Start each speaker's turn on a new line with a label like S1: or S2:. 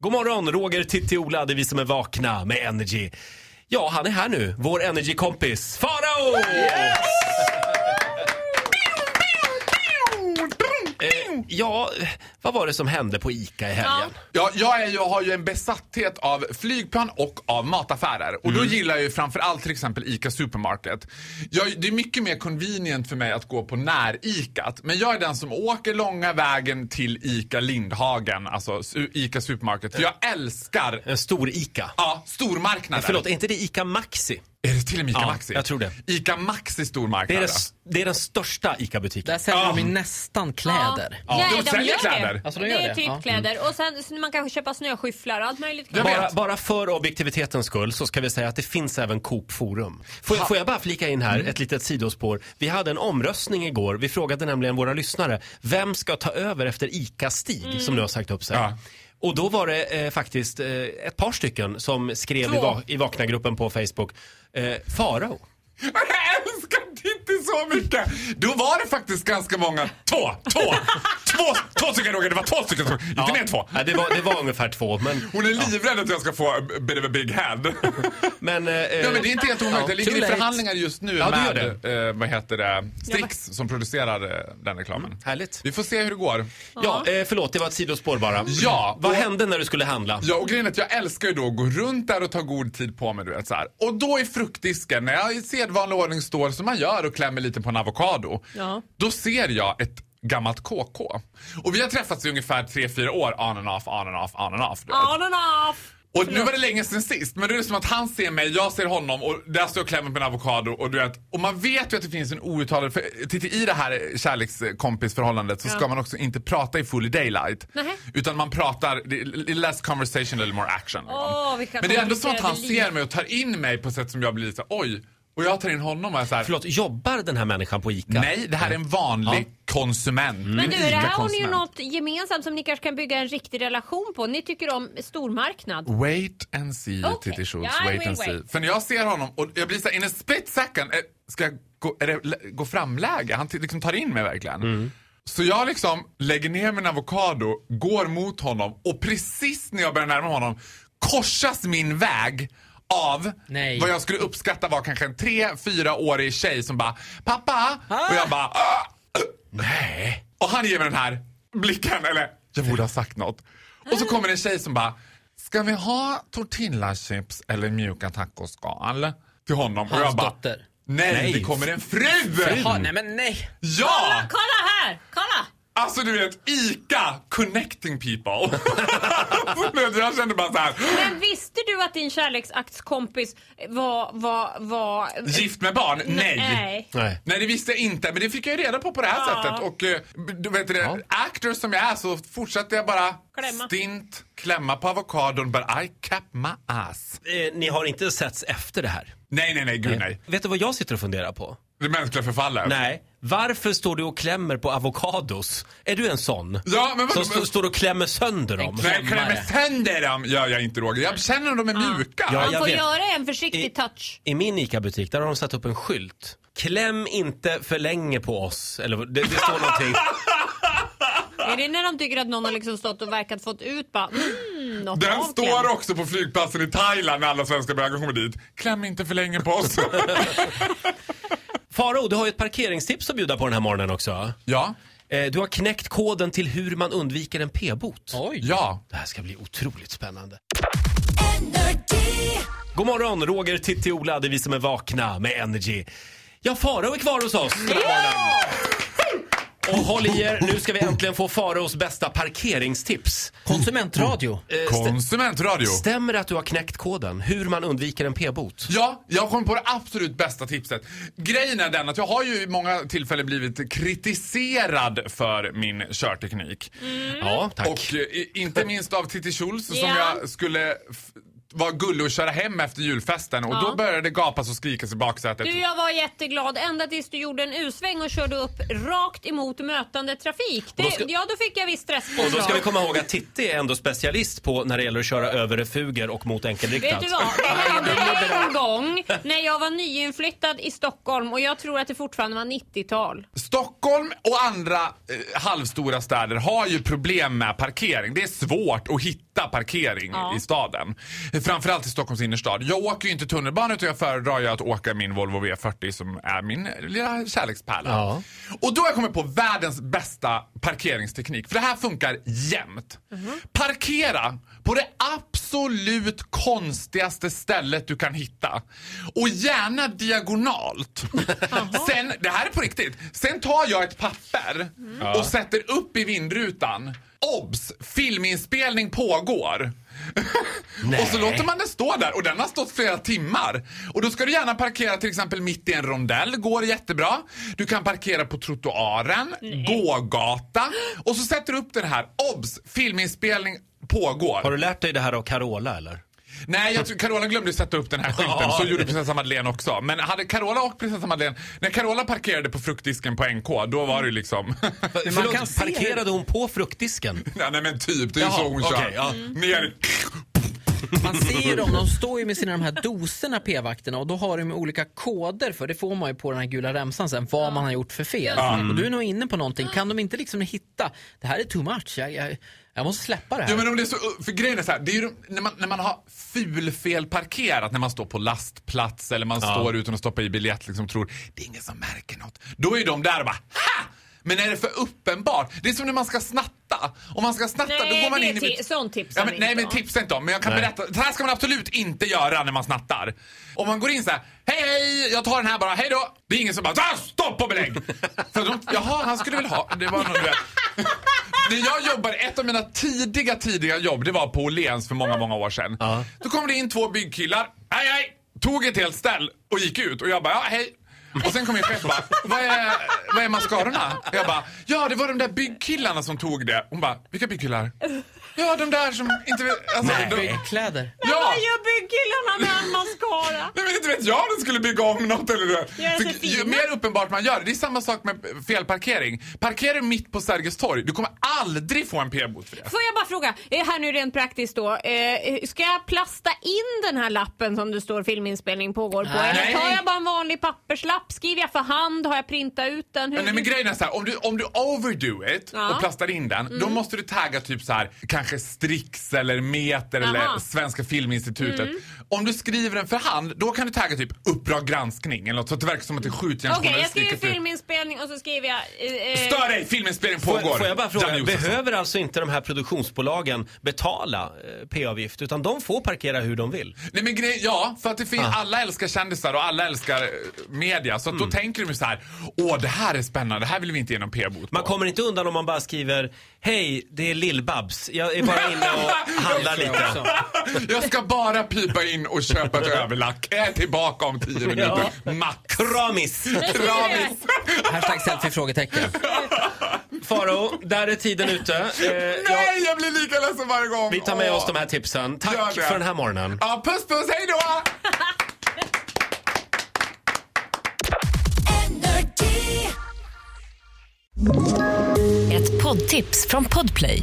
S1: God morgon, Roger, Titti, Ola, det är vi som är vakna med Energy. Ja, han är här nu, vår Energy-kompis Farao! Eh, ja, vad var det som hände på ICA i helgen?
S2: Ja, jag är ju, har ju en besatthet av flygplan och av mataffärer. Och då
S1: Mm.
S2: gillar jag ju framförallt till exempel ICA Supermarket. Jag, det är mycket mer convenient för mig att gå på när-ICAt. Men jag är den som åker långa vägen till ICA Lindhagen, alltså su- ICA Supermarket. För jag älskar
S1: En stor ICA.
S2: ja, stormarknader.
S1: Förlåt, är inte det ICA Maxi?
S2: Är det till och med ICA
S1: Ja,
S2: Maxi?
S1: jag tror det.
S2: ICA Maxi stormarknad.
S1: Det är, den, det är den största ICA-butiken.
S3: Där säljer de ju nästan kläder.
S2: Ja,
S4: Nej,
S2: de
S4: de
S2: säljer
S4: gör det.
S2: kläder.
S3: Alltså, de
S4: det
S3: gör
S4: är
S3: det.
S4: typ
S3: Ja.
S4: kläder. Och sen så man kan köpa snöskyfflar och allt möjligt.
S2: Jag
S4: kläder.
S1: Bara,
S2: vet.
S1: bara för objektivitetens skull så ska vi säga att det finns även Coop Forum. Får, jag- får jag bara flika in här
S2: Mm.
S1: ett litet sidospår? Vi hade en omröstning igår. Vi frågade nämligen våra lyssnare, vem ska ta över efter ICA-Stig som nu har sagt upp sig?
S2: Mm. Ja.
S1: Och då var det eh, faktiskt eh, ett par stycken som skrev i,
S4: Två.
S1: va- i Vakna-gruppen på Facebook, eh, Farao.
S2: Men jag älskar Titti så mycket! Då var det faktiskt ganska många. Två! Två! Två, två stycken Roger, det var två stycken. Inte mer än två.
S1: Ja, det, var, det var ungefär två, men...
S2: Hon är livrädd att jag ska få a bit of a big hand.
S1: men, eh,
S2: ja, men det är inte helt omöjligt. Jag ligger
S1: too
S2: i
S1: late.
S2: förhandlingar just nu
S1: Ja, du gör
S2: med eh, vad heter det? Strix som producerar eh, den reklamen.
S1: Mm, härligt.
S2: Vi får se hur det går.
S1: Ja, eh, förlåt, det var ett sidospår bara.
S2: Ja,
S1: Vad
S2: och-
S1: hände när du skulle handla?
S2: Ja, och grejen är att jag älskar ju då att gå runt där och ta god tid på mig. Du vet, så här. Och då i fruktdisken, när jag i sedvanlig ordning står som man gör och klämmer lite på en avokado,
S4: Ja.
S2: då ser jag ett gammalt KK. Och vi har träffats i ungefär 3-4 år, on and off, on and off, on and off. Du vet.
S4: On and off.
S2: Och nu var det länge sedan sist, men det är som att han ser mig, jag ser honom och där står jag och klämmer på en avokado och du vet, och man vet ju att det finns en outtalad, för titta i det här kärlekskompisförhållandet så ska man också inte prata i full daylight.
S4: Nähä.
S2: Utan man pratar, det är less conversation, a little more action.
S4: Åh, vilka
S2: men det är ändå som att han
S4: komplicerade
S2: ser
S4: liv.
S2: mig och tar in mig på ett sätt som jag blir så här, oj, och jag tar in honom och är så här,
S1: Förlåt, jobbar den här människan på ICA?
S2: nej det här är en vanlig konsument.
S4: Men du,
S2: en
S4: det här har ni ju
S2: ICA-konsument.
S4: något gemensamt som ni kanske kan bygga en riktig relation på. Ni tycker om stormarknad.
S2: Mm. Wait and see,
S4: Okej.
S2: Titti Schultz.
S4: Ja,
S2: wait
S4: we
S2: and
S4: wait.
S2: see. För när jag ser honom och jag blir så här, in a split second, eh, ska jag gå, är det lä- gå framläge? Han t- liksom tar in mig verkligen. Så jag liksom lägger ner min avokado, går mot honom och precis när jag börjar närma honom korsas min väg av
S3: Nej.
S2: vad jag skulle uppskatta var kanske en tre, fyraårig tjej som bara “pappa” och jag bara "Ah!"
S1: Nej.
S2: Och han ger mig den här blicken, eller jag borde ha sagt något. Och så kommer en tjej som bara, ska vi ha tortillachips eller mjuka tacoskal? Till honom. och
S3: Hans
S2: jag bara,
S3: dotter.
S2: Nej,
S1: Nej.
S2: det kommer en fru!
S3: Jaha, nej men nej!
S2: Ja!
S4: Kolla här! Kolla!
S2: Alltså du vet, ICA connecting people. Så du vet, jag kände bara så här.
S4: Men visste du att din kärleksaktskompis var... var, var
S2: gift med barn? Nej.
S4: Nej.
S1: Nej.
S2: Nej, det visste jag inte, men det fick jag ju reda på på det här
S4: Ja.
S2: sättet. Och eh, du vet det, actor som jag är så fortsatte jag bara
S4: Klämma.
S2: stint klämma på avokadon, but I kept my ass.
S1: Eh, ni har inte setts efter det här?
S2: Nej, nej, nej, gud nej.
S1: Vet du vad jag sitter och funderar på?
S2: Det mänskliga förfallet.
S1: Nej. Varför står du och klämmer på avokados? Är du en sån?
S2: Ja, men
S1: Som
S2: vad,
S1: st- står och klämmer sönder dem?
S3: Exakt.
S2: nej, klämmer sönder dem gör jag inte Roger. Jag känner att de är mjuka.
S1: Ja,
S4: Han
S1: jag
S4: får
S1: vet.
S4: göra en försiktig
S1: I-
S4: touch.
S1: I min ICA-butik, där har de satt upp en skylt. Kläm inte för länge på oss. Eller det, det står någonting.
S4: Är det när de tycker att någon har liksom stått och verkat fått ut bara... Mm, något
S2: Den
S4: avklämt.
S2: står också på flygplatsen i Thailand när alla svenskar börjar komma dit. Kläm inte för länge på oss.
S1: Faro, du har ju ett parkeringstips att bjuda på den här morgonen också.
S2: ja,
S1: Eh, du har knäckt koden till hur man undviker en p-bot.
S3: Oj!
S2: ja.
S1: Det här ska bli otroligt spännande. God morgon, Roger, Titti, Ola. Det är vi som är vakna med Energy. Ja, Farao är kvar hos oss den här morgonen. Och håll i er, nu ska vi äntligen få Faraos bästa parkeringstips.
S3: Konsumentradio.
S1: Mm. Eh,
S2: Konsumentradio.
S1: Stämmer det att du har knäckt koden? Hur man undviker en p-bot?
S2: Ja, jag kom på det absolut bästa tipset. Grejen är den att jag har ju i många tillfällen blivit kritiserad för min körteknik.
S4: Mm.
S1: Ja, tack.
S2: Och eh, i- inte minst av Titti Schultz som
S4: Ja.
S2: jag skulle f- vara gullig och köra hem efter julfesten och
S4: Ja.
S2: då började det gapas och skrikas i baksätet.
S4: Du, jag var jätteglad ända tills du gjorde en U-sväng och körde upp rakt emot mötande trafik. Det,
S1: då ska-
S4: Ja, då fick jag viss stress
S1: Och då ska vi komma ihåg att Titti är ändå specialist på när det gäller att köra över refuger och mot enkelriktat.
S4: Vet du vad? Det hände en gång när jag var nyinflyttad i Stockholm och jag tror att det fortfarande var 90-tal.
S2: Stockholm och andra eh, halvstora städer har ju problem med parkering. Det är svårt att hitta hitta parkering
S4: Ja.
S2: i staden. Framförallt i Stockholms innerstad. Jag åker ju inte tunnelbana utan jag föredrar ju att åka min Volvo V40 som är min lilla kärlekspärla.
S1: Ja.
S2: Och då har jag kommit på världens bästa parkeringsteknik. För det här funkar jämt. Parkera på det absolut konstigaste stället du kan hitta. Och gärna diagonalt. Sen, det här är på riktigt. Sen tar jag ett papper och sätter upp i vindrutan. Obs! Filminspelning pågår. Och så låter man den stå där och den har stått flera timmar. Och då ska du gärna parkera till exempel mitt i en rondell, går jättebra. Du kan parkera på trottoaren, gågata. Och så sätter du upp den här, obs! Filminspelning pågår.
S1: Har du lärt dig det här av Carola eller?
S2: Nej, jag tror, Carola glömde sätta upp den här skylten.
S1: Ja.
S2: Så gjorde prinsessa Madeleine också. Men hade Carola och prinsessa Madeleine... När Carola parkerade på fruktdisken på NK, då var det ju liksom...
S1: Förlåt,
S3: kan se
S1: parkerade hon på fruktdisken?
S2: Ja, Nej men typ, det är ju
S1: Jaha,
S2: så hon kör.
S1: okej, ja.
S2: Ner...
S3: Man ser ju dem, de står ju med sina de här doserna p-vakterna och då har de ju olika koder för det får man ju på den här gula remsan sen vad man har gjort för fel. Och
S1: Mm.
S3: du är nog inne på någonting, kan de inte liksom hitta, det här är too much, jag, jag, jag måste släppa det här.
S2: Ja men om det är så, för grejen är så här, det är ju de, när, man, när man har fulfelparkerat, parkerat, när man står på lastplats eller man står utan att stoppa i biljett liksom tror det är ingen som märker något. Då är de där och bara ha! Men är det för uppenbart? Det är som när man ska snatta. Om man ska snatta då går
S4: Nej,
S2: man
S4: det
S2: in i...
S4: är ti- sånt tipsar
S2: Ja, men,
S4: vi
S2: nej
S4: inte
S2: men
S4: om.
S2: tipsa inte om, men jag kan
S1: Nej.
S2: berätta. Det här ska man absolut inte göra när man snattar. Om man går in så här, hej hej, jag tar den här bara, hej då. Det är ingen som bara, "Ah, stopp och belägg! För de, jaha, han skulle väl ha, det var nog du vet. När jag jobbade, ett av mina tidiga, tidiga jobb, det var på Åhléns för många, många år sedan.
S1: Ja.
S2: Då kom det in två byggkillar, hej hej, tog ett helt ställ och gick ut och jag bara, ja hej. Och sen kom min chef och bara, vad är, vad är mascarorna? Och jag bara, ja det var de där byggkillarna som tog det. Hon bara, vilka byggkillar? Ja, de där som inte vet... Alltså, de,
S3: Byggkläder.
S2: ja!
S4: Vad gör byggkillarna med all mascara?
S2: Nej, men inte vet jag om de skulle bygga om något eller det.
S4: Göra sig
S2: För Ju
S4: fina.
S2: mer uppenbart man gör det, det är samma sak med felparkering. Parkerar du mitt på Sergels torg, du kommer aldrig få en p-bot för det.
S4: Får jag bara fråga, eh, här nu rent praktiskt då. Eh, ska jag plasta in den här lappen som det står filminspelning pågår på?
S3: Nej.
S4: Eller tar jag bara en vanlig papperslapp? Skriver jag för hand? Har jag printat ut den? Hur-
S2: Nej men grejen är så här, om du, om du overdo it
S4: Ja. Mm.
S2: och plastar in den, då måste du tagga typ så här, kanske Strix eller Meter eller
S4: Aha. Mm.
S2: Svenska Filminstitutet. Om du skriver den för hand, då kan du tagga typ Uppdrag granskning eller något så att det verkar som att det är
S4: Okej, jag
S2: skjutjärnsjournalist.
S4: skriver
S2: vilket du-
S4: filminspelning och så skriver jag... eh, eh,
S2: Stör dig! Filminspelning
S1: Får,
S2: pågår.
S1: får jag bara
S2: Janne
S1: fråga,
S2: Josefsson.
S1: behöver alltså inte de här produktionsbolagen betala eh, p-avgift utan de får parkera hur de vill?
S2: Nej men grej, ja, för att det finns,
S1: Ah.
S2: alla älskar kändisar och alla älskar eh, media. Så att
S1: Mm.
S2: då tänker de ju så här, åh det här är spännande, det här vill vi inte ge någon p-bot
S1: Man
S2: på."
S1: kommer inte undan om man bara skriver Hej, det är Lill-Babs. Jag är bara inne och handlar lite.
S2: Jag ska bara pipa in och köpa ett överlack. Jag är tillbaka om tio minuter, max.
S1: Kramis!
S2: Kramis.
S3: Hashtag selfie frågetecken.
S1: Faro, där är tiden ute. Eh, jag,
S2: Nej, jag blir lika ledsen varje gång.
S1: vi tar med
S2: Åh.
S1: oss de här tipsen.
S2: Gör
S1: Tack
S2: det.
S1: för den här morgonen.
S2: Ja, puss puss, hej då!
S5: Ett poddtips från Podplay.